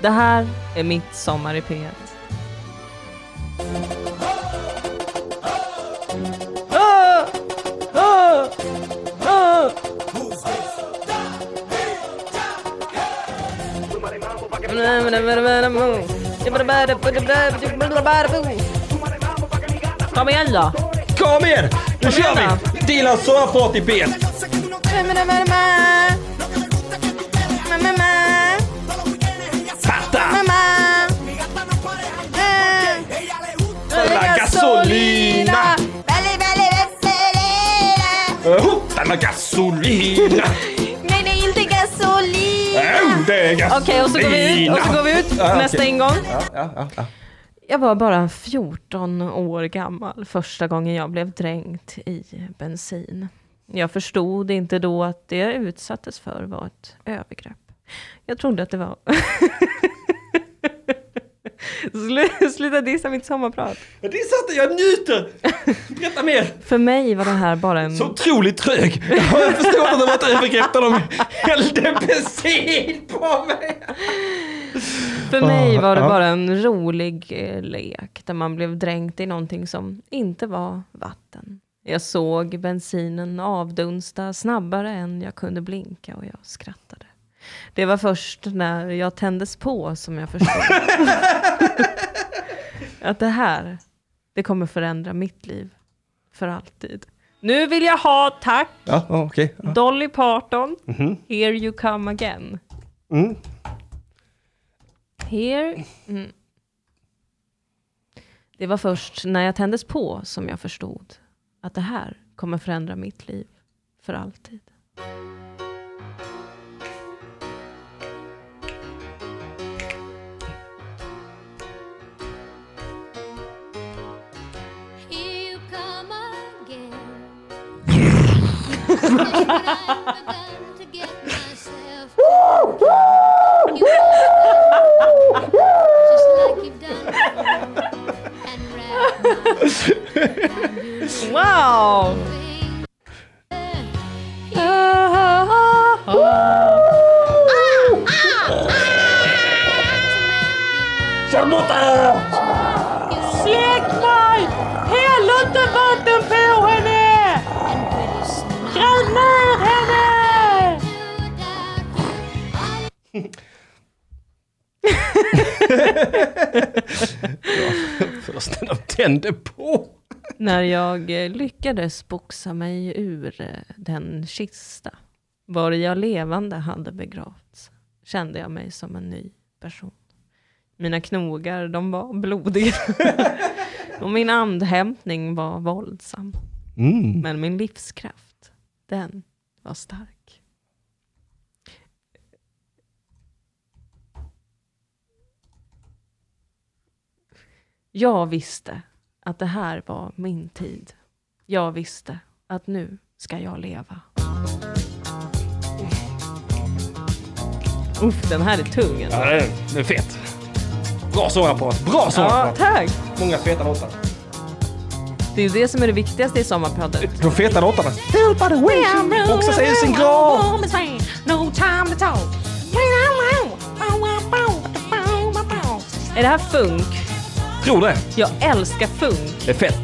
Det här är mitt sommar i P1. Ah! Ah! Ah! Kom igen då! Kom igen! Nu kör igen vi! Dilan sommarprat i ben. Fatta! La gasolina! Hutta la gasolina! Okej, Okej, och så går vi ut, och så går vi ut Ja, nästa okej. ingång. Ja, ja, ja. Jag var bara 14 år gammal första gången jag blev dränkt i bensin. Jag förstod inte då att det jag utsattes för var ett övergrepp. Jag trodde att det var... Slu- Sluta dissa mitt sommarprat. Det är sant, jag njuter! Berätta mer! För mig var det här bara en... Så otroligt trög! Jag förstår att det var ett övergrepp när de hällde bensin på mig! För mig var det Ja. bara en rolig eh, lek där man blev dränkt i någonting som inte var vatten. Jag såg bensinen avdunsta snabbare än jag kunde blinka och jag skrattade. Det var först när jag tändes på som jag förstod att det här, det kommer förändra mitt liv för alltid. Nu vill jag ha, tack, Ja, ja, okej. Ja. Mhm. Dolly Parton, Here You Come Again. Mm. Here... Mm. Det var först när jag tändes på som jag förstod att det här kommer förändra mitt liv för alltid. Here you come again. I've begun to get myself. You come just like you've done before, and wrap my Wow! finger. Släck mig! Häll inte vatten på henne! And pretty soon Gräv ner henne! to doubt you. Först när de tände på. När jag eh, lyckades boxa mig ur eh, den kista var jag levande hade begravts kände jag mig som en ny person. Mina knogar, de var blodiga. och min andhämtning var våldsam. Mm. Men min livskraft, den var stark. Jag visste att det här var min tid. Jag visste att nu ska jag leva. Uff, den här är tung. Ja, Alltså. det är, det är fett. Bra sommarprat. Bra Ja, sommarprat. tack! Många feta låtar. Det är ju det som är det viktigaste i sommarpratet. De feta låtarna. Help the way. Också säger sin grav. No time to talk. Är det här funk? Tror det. Jag älskar funk. Det är fett.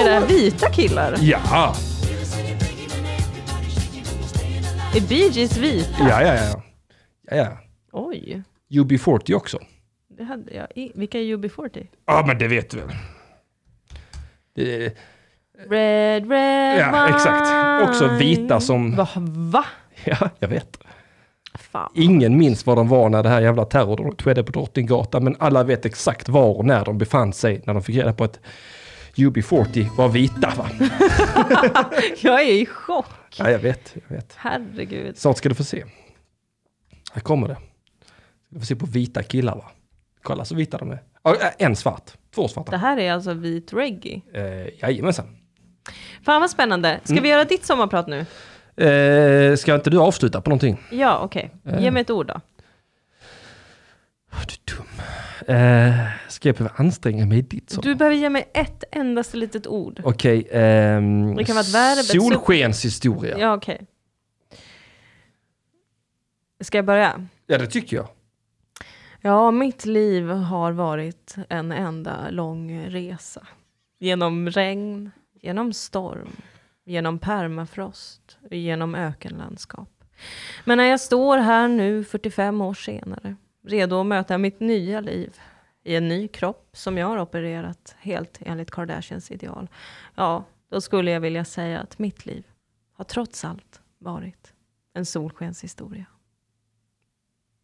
Är det här vita killar? Ja. Är Bee Gees vita? Ja, ja, ja. Ja, ja. Oj, UB40 också. det hade jag i- Vilka är UB40? Ja, men det vet du väl. Det är, Red, red ja, wine. exakt. Också vita som... Va? va? Ja, jag vet. Fan. Ingen minns var de var när det här jävla terrordådet skedde på Drottninggatan, men alla vet exakt var och när de befann sig när de fick reda på att UB40 var vita. Va? Jag är i chock. Ja, jag vet, jag vet. Herregud. Snart ska du få se. Här kommer det. Du får se på vita killar va? Kolla så vita de är. Ja, eh, En svart, två Det svarta. här är alltså vit reggae. Eh, jajamensan. Fan vad spännande. Ska Mm. vi göra ditt sommarprat nu? Eh, ska inte du avsluta på någonting? Ja, okej. Eh, Ge mig ett ord då. Ah, Du är dum. Eh, ska jag behöva anstränga mig i ditt sånt? Du behöver ge mig ett endaste litet ord. Okej. ehm, Det kan vara ett verb, ett supp- solskenshistoria. Ja. Ja, okej. Ska jag börja? det tycker jag. Ja, mitt liv har varit en enda lång resa. Genom regn, genom storm, genom permafrost, genom ökenlandskap. Men när jag står här nu 45 år senare, redo att möta mitt nya liv i en ny kropp som jag har opererat helt enligt Kardashians ideal. Ja, då skulle jag vilja säga att mitt liv har trots allt varit en solskenshistoria.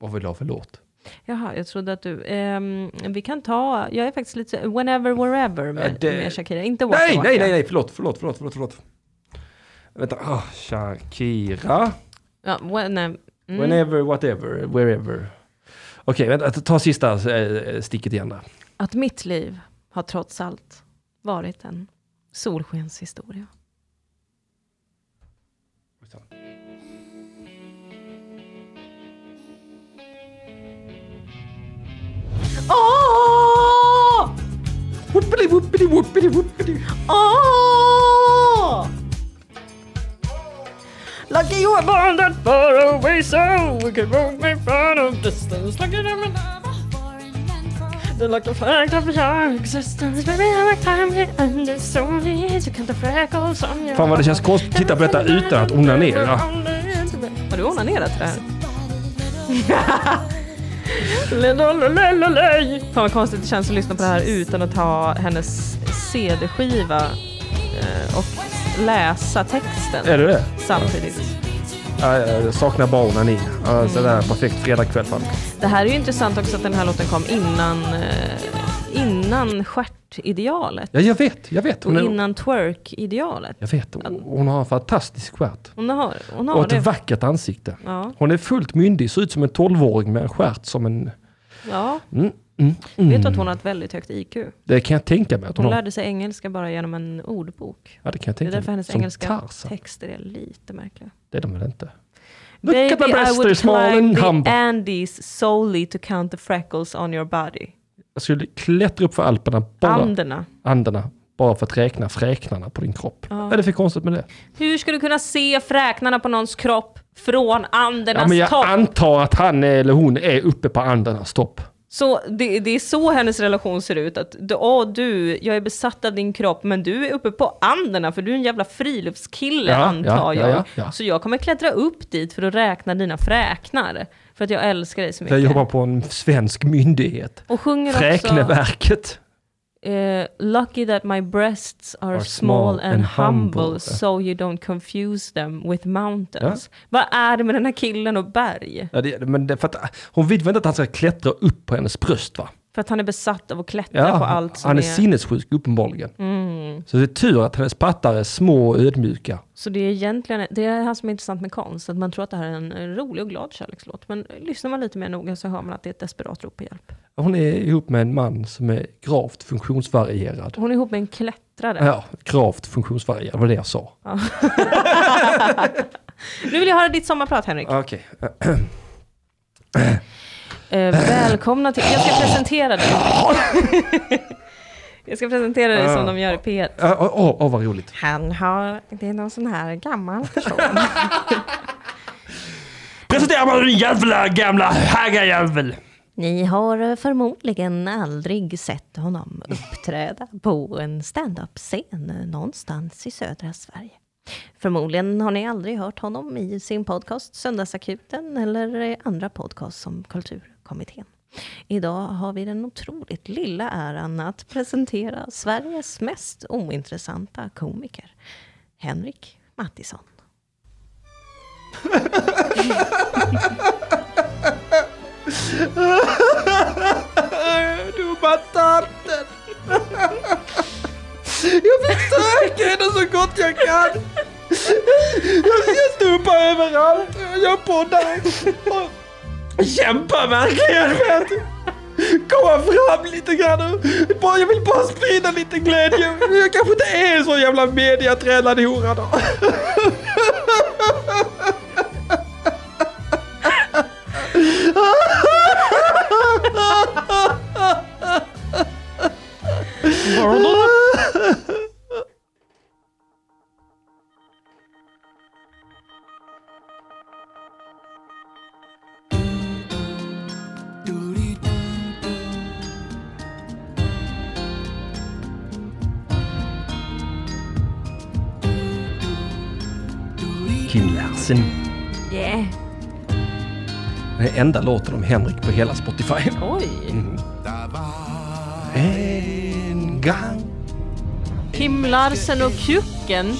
Vad vill du ha för låt? Jaha, jag trodde att du... ehm, vi kan ta... Jag är faktiskt lite så- Whenever, wherever med, Ja, det- med Shakira. Inte Waka Nej, Waka. nej, nej, nej, förlåt, förlåt, förlåt, förlåt. förlåt. Vänta, Ah, Shakira. Ja, when, mm. Whenever, whatever, wherever. Okej, vänta, ta sista eh, sticket igen där. Att mitt liv har trots allt varit en solskenshistoria. Åh! Whoopity, whoopity, whoopity, whoopity. Åh! Like you were born that far away so we can move me far of distance Like you never The luck of fact of your existence Baby, I'm a time here and it's so easy Can't the freckles on your Fan vad det känns konstigt att titta på detta utan att onanera. Har du onanerat till det här? Lelololololoj. Fan vad konstigt det känns att lyssna på det här utan att ha hennes CD-skiva eh, och läsa texten Är det det? samtidigt. Ja, jag saknar bara onani. Ja, Sådär perfekt fredagkväll. Fan. Det här är ju intressant också att den här låten kom innan, eh, innan stjärtidealet Ja, jag vet, jag vet. och Hon är, innan twerk-idealet. jag vet, hon- hon har en fantastisk stjärt. Hon har, hon Och har ett det. vackert ansikte. Ja, Hon är fullt myndig, ser ut som en tolvåring med en stjärt som en... ja. Mm, mm, mm. Vet du att hon har ett väldigt högt IQ? Det kan jag tänka mig att hon, Hon har. lärde sig engelska bara genom en ordbok. Ja, det kan jag Det är tänka därför mig. hennes Som engelska Tarzan. texter är lite märkliga. Det är de väl inte? Look Baby, at my I breast, they're would small climb and the humble. Andes solely to count the freckles on your body. Jag skulle klättra upp för Alperna, bara Anderna. Anderna, bara för att räkna fräknarna på din kropp. Vad är det för konstigt med det? Hur ska du kunna se fräknarna på någons kropp från Ja, andernas men jag topp? antar att han är- eller hon är uppe på Andernas topp. Så det, det är så hennes relation ser ut. Att du, åh, du, jag är besatt av din kropp, men du är uppe på Anderna, för du är en jävla friluftskille Ja, antar ja, ja, jag. ja, ja. Så jag kommer klättra upp dit för att räkna dina fräknar. För att jag älskar dig så mycket. Jag jobbar på en svensk myndighet. Och sjunger också... Fräkneverket. eh, lucky that my breasts are, Are small, small and, and humble, humble. so you don't confuse them with mountains. Vad är det med den här killen och berg? Ja, det, men det, för att, hon vill väl inte att han ska klättra upp på hennes bröst va? För att han är besatt av att klättra Ja, på allt som han är är... Mm. sinnessjuk uppenbarligen. Så det är tur att hennes pattar är små och ödmjuka. Så det är egentligen, det är det här som är intressant med konst, att man tror att det här är en eh, rolig och glad kärlekslåt. Men lyssnar man lite mer noga så hör man att det är ett desperat rop på hjälp. Hon är ihop med en man som är gravt funktionsvarierad. Hon är ihop med en klättrare. Ja, gravt funktionsvarierad, det var det jag sa. Nu vill jag höra ditt sommarprat Henrik. Okej. Eh, välkomna till, jag ska presentera dig. jag ska presentera dig som de gör i P1. Åh, Äh, åh, åh, vad roligt. Han har, det är någon sån här gammal person. Presentera mig din jävla gamla högerjävel! Ni har förmodligen aldrig sett honom uppträda på en standup-scen någonstans i södra Sverige. Förmodligen har ni aldrig hört honom i sin podcast Söndagsakuten eller andra podcast som Kulturkommittén. Idag har vi den otroligt lilla äran att presentera Sveriges mest ointressanta komiker, Henrik Mattisson. Dumma tanten! Jag försöker henne så gott jag kan! Jag jag stupar överallt, jag poddar och kämpar verkligen för att komma fram lite grann. Bara- Jag vill bara sprida lite glädje. Jag kanske inte är så jävla mediatränad hora då. Kim Larsen. Yeah! Det är enda låten om Henrik på hela Spotify. Oj, En gång. Kim Larsen och Kuken.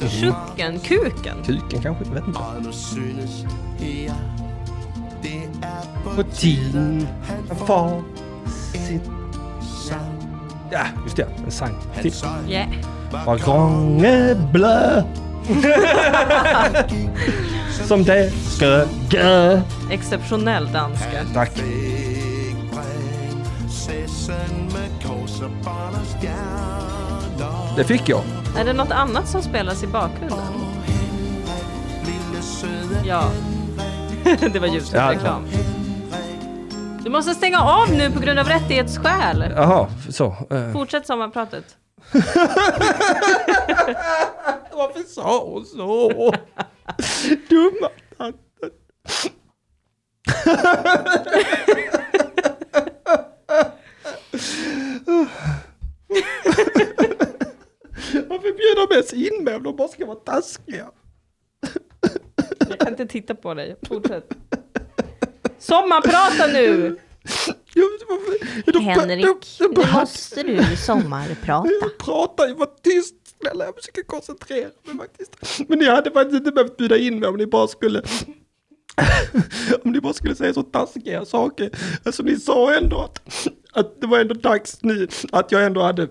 Kuken, Kuken. Kuken kanske, jag vet inte. Og nu synes jeg, det er på på tiden han får sitt sang. Ja, just det. En sang till. Så Yeah. Var gången blö som det ska gå. Exceptionell danska. Tack. fik prinsessen med korsebånd og stjerner. Det fick jag. Är det något annat som spelas i bakgrunden? Lille søde Ja. det var ljuset Ja. reklam. Du måste stänga av nu på grund av rättighetsskäl. Jaha, så. eh. Fortsätt sommarpratet. Varför sa hon så? Dumma tanten. Varför bjuder de ens in mig om de bara ska vara taskiga? Jag kan inte titta på dig. Fortsätt. Sommarprata nu! Jag, varför, de, Henrik, de, de, nu de, måste du sommarprata. Prata, jag var tyst, snälla, jag försöker koncentrera mig faktiskt. Men ni hade faktiskt inte behövt bjuda in mig om ni bara skulle... om ni bara skulle säga så taskiga saker. Alltså ni sa ändå att, att det var ändå dags nu, att jag ändå hade...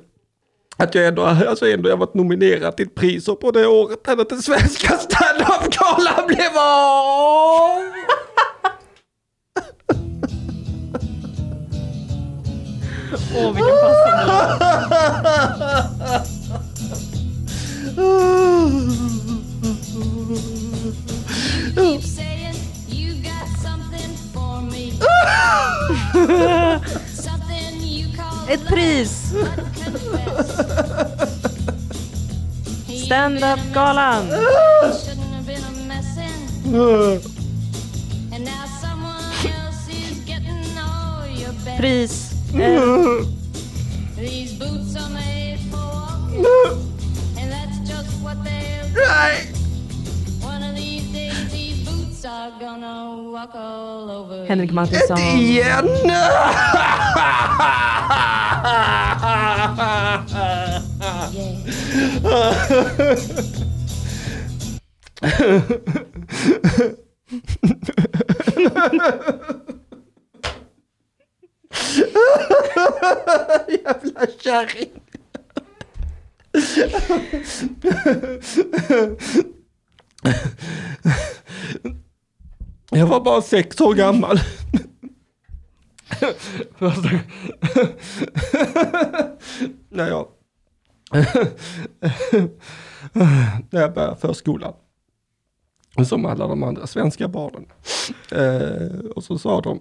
Att jag ändå, alltså ändå jag varit nominerad till ett pris och på det året hade den svenska standup-galan blev av! Åh, vilken passning. Keep saying you got something for me. something you call Ett pris! love, confess. You've been a mess, Stand-up-galan! Shouldn't have been a messin', and now someone else is getting all your best. Pris! Eh, These boots are made for walking, and that's just what they'll do. Nej! One of these days, these boots are gonna walk all over. Henrik Mattisson. Igen! Jävla kärring. Jag var bara sex år gammal. Första- När jag... När jag började förskolan. Som alla de andra svenska barnen. Eh, och så sa de,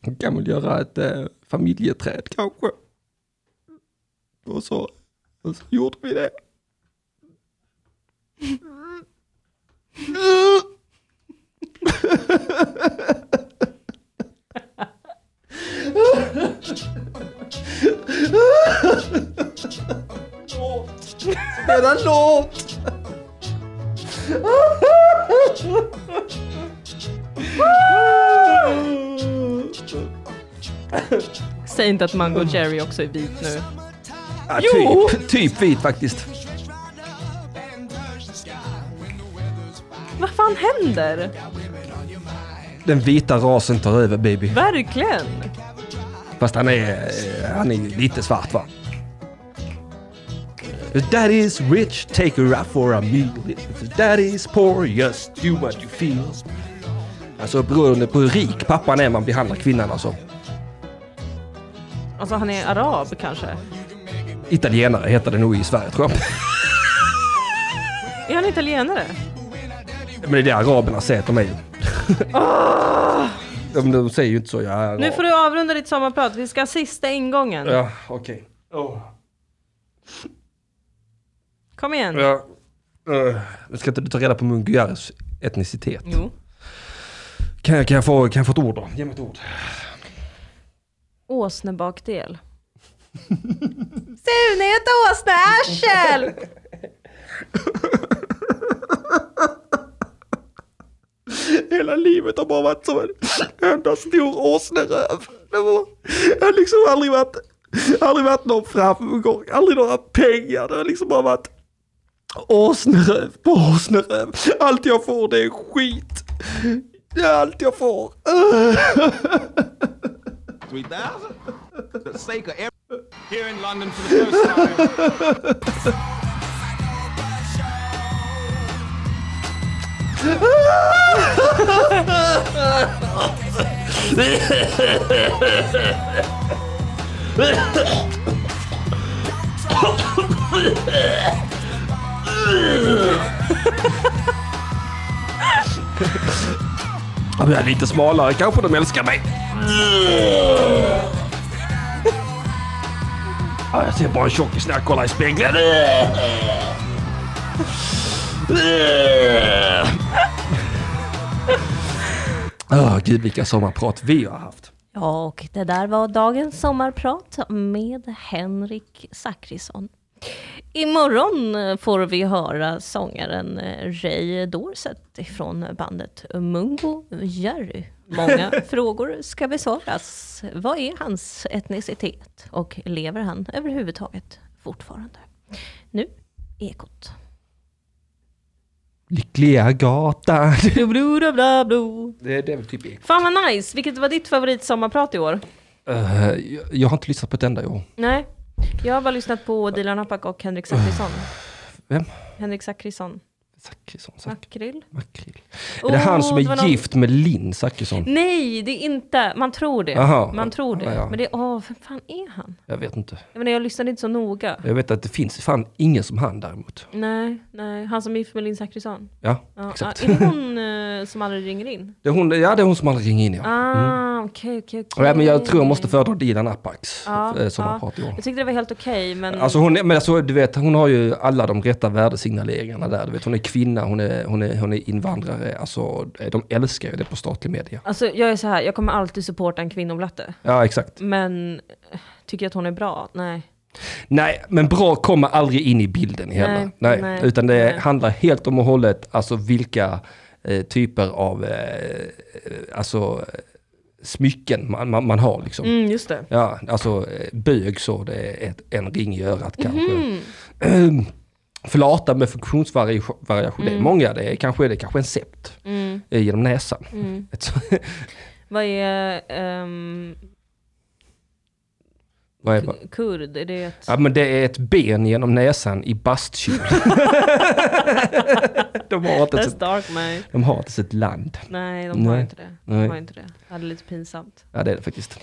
"Vi kan väl göra ett eh, familjeträd kanske. Och så, och så gjorde vi det. Spela en låt! Säg inte att Mango Jerry också är vit nu. Ja, Jo! typ, typ vit faktiskt. Vad fan händer? Den vita rasen tar över baby. Verkligen! Fast han är, eh, han är ju lite svart va? If that is rich, take her out for a meal. If that is poor, just do what you feel. Alltså beroende på hur rik pappan är man behandlar kvinnan alltså. Alltså han är arab kanske? Italienare heter det nog i Sverige tror jag. Är han italienare? Men det är det araberna säger till mig. de, de säger ju inte så. Jag är Ah! Nu arab. får du avrunda ditt sommarprat, vi ska ha sista ingången. Ja, okej. Oh. Åh. Kom igen. Ja. Eh, Ska inte du ta reda på Munguiares etnicitet? Jo. Kan jag, kan, jag få, kan jag få ett ord då? Ge mig ett ord. Åsnebakdel. Sune är ett åsnearsel! Hela livet har bara varit som en enda stor åsneröv. Det var, jag har liksom aldrig varit, aldrig varit någon framgång, aldrig några pengar. Det har liksom bara varit åsneröv på åsneröv. Allt jag får det är skit. Det är allt jag får. 3000? The sake of every. Here in London for the first time. Om jag är lite smalare kanske de älskar mig. Ja, jag ser bara en tjockis när jag kollar i spegeln. Åh, gud vilka sommarprat vi har haft. Ja, och det där var dagens sommarprat med Henrik Zackrisson. Imorgon får vi höra sångaren Ray Dorset ifrån bandet Mungo Jerry. Många frågor ska besvaras. Vad är hans etnicitet och lever han överhuvudtaget fortfarande? Nu, Ekot. Lyckliga gatan. Blu, blu, blu, blu, blu. Det, det är väl typ ek. Fan vad nice! Vilket var ditt favoritsommarprat i år? Eh, jag, jag har inte lyssnat på ett enda i år. Nej, jag har bara lyssnat på Dilan Apak och Henrik Zachrisson. Vem? Henrik Zachrisson. Zachrisson, Zack- Makrill? Makrill. är det han som Oh, det var är någon- gift med Linn Zachrisson? Nej, det är inte. Man tror det. Aha. Man tror det. Ja, ja. Men det är, åh, vem fan är han? Jag vet inte. Jag menar, jag lyssnade inte så noga. Jag vet att det finns fan ingen som han däremot. Nej, nej. Han som är gift med Linn Zachrisson. Ja, Ja, ja, exakt. är det hon eh, som aldrig ringer in? Det är hon, ja, det är hon som aldrig ringer in ja. Ah, okej, okej, okej. Nej, Mm. men jag tror jag måste föredra Dilan Apax Ja, eh, som ja. har pratat i år. Jag tyckte det var helt okej, men... Alltså hon, är- men alltså, du vet, hon har ju alla de rätta värdesignaleringarna där. Du vet, hon är kvinna, hon är, hon är, hon är invandrare. Alltså, de älskar ju det på statlig media. Alltså jag är så här, jag kommer alltid supporta en kvinnoblatte. Ja, exakt. Men eh, tycker jag att hon är bra? Nej. Nej, men bra kommer aldrig in i bilden heller. Nej, Nej, nej, utan det nej. handlar helt om och hållet, alltså vilka eh, typer av eh, alltså, smycken man, man, man har. Liksom. Mm, just det. Ja, alltså eh, bög så det är ett, en ring i örat kanske. För lata med funktionsvariation, det är många, det är kanske, det är kanske en sept eh, genom näsan. Ett så- Vad är ehm, vad är, det? kurd? Är det ett... ja, men det är ett ben genom näsan i bastkjol. de, har inte ens That's ett, dark man. de har inte ens ett land. Nej, de har typ- Nej. inte det. De Nej. har inte det. Ja, Det är lite pinsamt. Ja det är det faktiskt.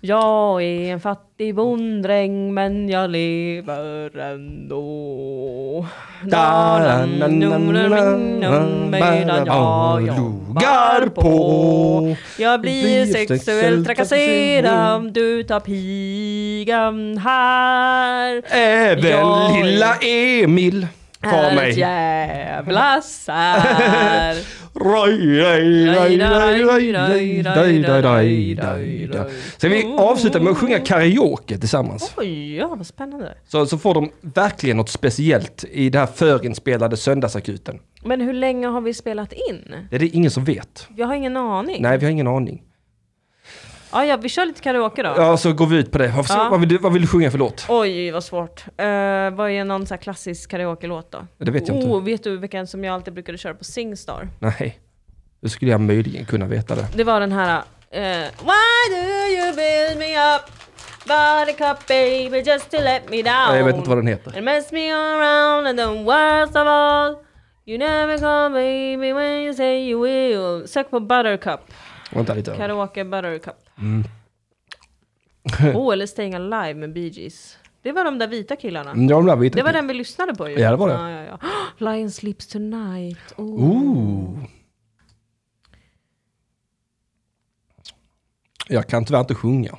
Jag är en fattig bonddräng men jag lever ändå. Dalen numrar minnen medan jag jobbar på. Jag blir sexuellt trakasserad utav pigan här. Även Jag är- lilla Emil har Är ett mig. jävla sär. Roj, roj, roj, roj, roj, roj, roj, roj, roj, roj. Ska vi Oh. avsluta med att sjunga karaoke tillsammans? Oj, ja, vad spännande. Så, så får de verkligen något speciellt i det här förinspelade söndagsakuten. Men hur länge har vi spelat in? Det är det ingen som vet. Jag har ingen aning. Nej, vi har ingen aning. Ja, ja, vi kör lite karaoke då. Ja, så går vi ut på det. Vad, Ja. vad, vill, du, vad vill du sjunga för låt? Oj, vad svårt. Eh, vad är någon så här klassisk karaoke-låt då? Det vet jag inte. Oh, vet du vilken som jag alltid brukade köra på Singstar? Nej, då skulle jag möjligen kunna veta det. Det var den här... eh, Why do you build me up? Buttercup baby just to let me down Nej, Jag vet inte vad den heter. And mess me around and then worst of all You never call baby when you say you will Sök på Buttercup. Vänta lite. Karaoke Buttercup. Mm. oh, eller Staying Alive med Bee Gees. Det var de där vita killarna. Ja, de där vita Det var killarna. den vi lyssnade på ju. Mm. Ja, det var det. Ja, ja, ja. Oh, Lion Sleeps Tonight. Oh. Ooh. Jag kan tyvärr inte sjunga.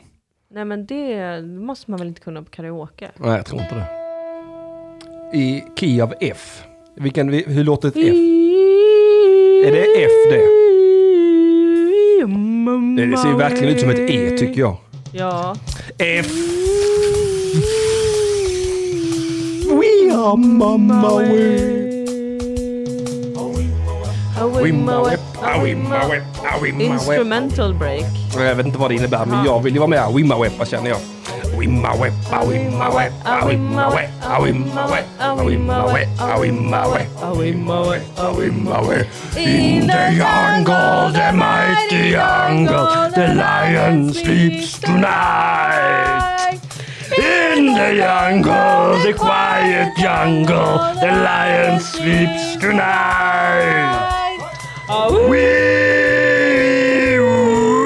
Nej men det måste man väl inte kunna på karaoke? Nej, jag tror inte det. I key av F. Vilken, vi- hur låter ett F? Är det F det? Det, det ser ju verkligen ut som ett E tycker jag. Ja. F. We are mama way. We ma whip, ah, we ma whip, ah, we ma whip. Instrumental break. Jag vet inte vad det innebär, men jag vill ju vara med. Wimma weppa känner jag. Wimma weppa, wimma weppa, wimma weppa, wimma weppa, wimma weppa, wimma weppa, wimma weppa, wimma weppa. In the jungle, the mighty jungle, the lion sleeps tonight. In the jungle, the quiet jungle, the lion sleeps tonight. We,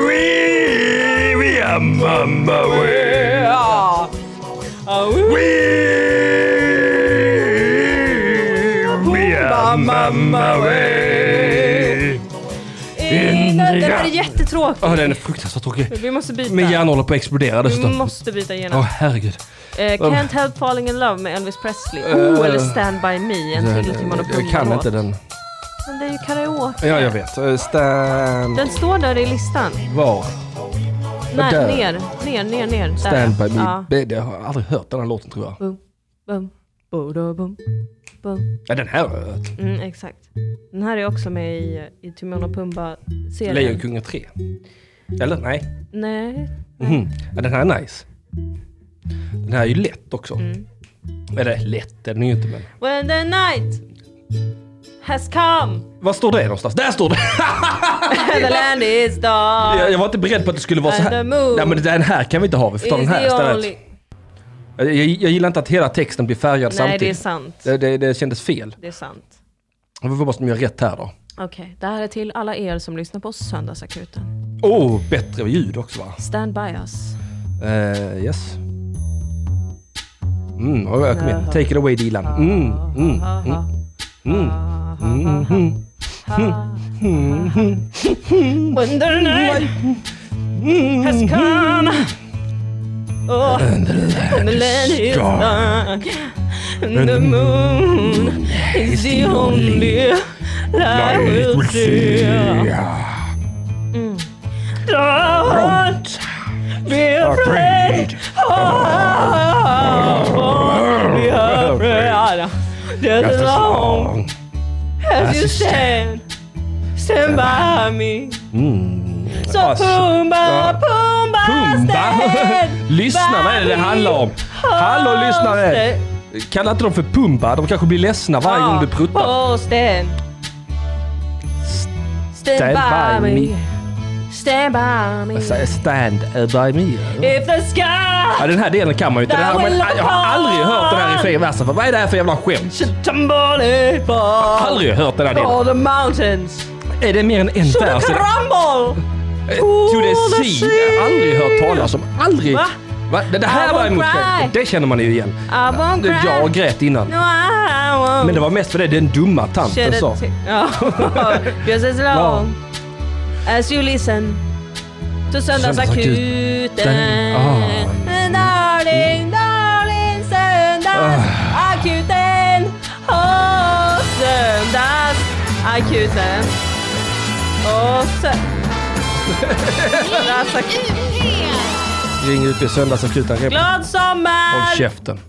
we, we are mama way. We, we are mama way. In Det the här är jättetråkigt. Ja, den är fruktansvärt tråkig. Vi måste byta. Min hjärna håller på att explodera Vi dessutom. måste byta Åh, genast. herregud. Eh, Can't help falling in love med Elvis Presley. Oh, eller Stand by me, en till Timon och Eh, Jag kan Pumba-låt. inte den. Men det är ju karaoke. Ja, jag vet. Eh, Stand... Den står där i listan. Var? Nej, Där. ner, ner, ner, ner. Där. Stand by me. Ja. Det- det- Jag har aldrig hört den här låten tror jag. Bum, bodo, bum, bum. Ja, den här har jag hört. Mm, exakt. Den här är också med i, i Timon och Pumba-serien. Lejonkungen 3. Eller nej. Nej. Mhm. Ja, den här är nice. Den här är ju lätt också. Mm. Eller lätt är den ju inte men. When the night has come Vad står det någonstans? Där står det! and the land is Jag, dark jag var inte beredd på att det skulle vara så And här. the moon Nej men den här kan vi inte ha, vi får ta den is här the istället. only- Jag, jag, jag gillar inte att hela texten blir färgad Nej, det är samtidigt. sant. Det, det, det kändes fel. Det är sant. Vi får hoppas att de gör rätt här då. Okej, det här är till alla er som lyssnar på Söndagsakuten. Åh, oh, bättre ljud också va? Stand by us. Eh, yes. Mm, ja, jag kom igen. Take it away Dilan. Ah. Mm, mm, mm. Mm. When the night has come Oh, and the land is dark And the moon is the only light we'll see Don't be afraid Oh, be afraid Just as long as you stand Stand by me Så Alltså, Pumba, ja. Pumba, Pumba! stand Lyssna, vad är det det handlar om? Hallå lyssnare! Kalla inte dem för Pumba, de kanske blir ledsna varje gång du pruttar. Oh, stand. Stand, Stand by me. Stand by me. Stand by me. If the sky Ja, den här delen kan man ju inte. Den här, men, jag har aldrig hört den här i fri versen. För vad är det här för jävla skämt? should tumble it Jag har aldrig hört den här delen. all the mountains Är det mer än en should vers? Är det- crumble. To the the sea. sea. Aldrig hört talas om. Aldrig. Va? Va? Det, det här I var won't emot cry. Det känner man ju igen. I won't cry. Jag grät innan. No, I won't. Men det var mest för det den dumma tanten Shed a sa. t- Ja, just as long as you listen to Söndagsakuten. Den- Ah. Darling, darling, Ah. Söndagsakuten. Åh, Söndagsakuten. Åh, sö- Söndagsakuten. Ring ut i söndagsakuten. Rep- Glad sommar! Håll käften.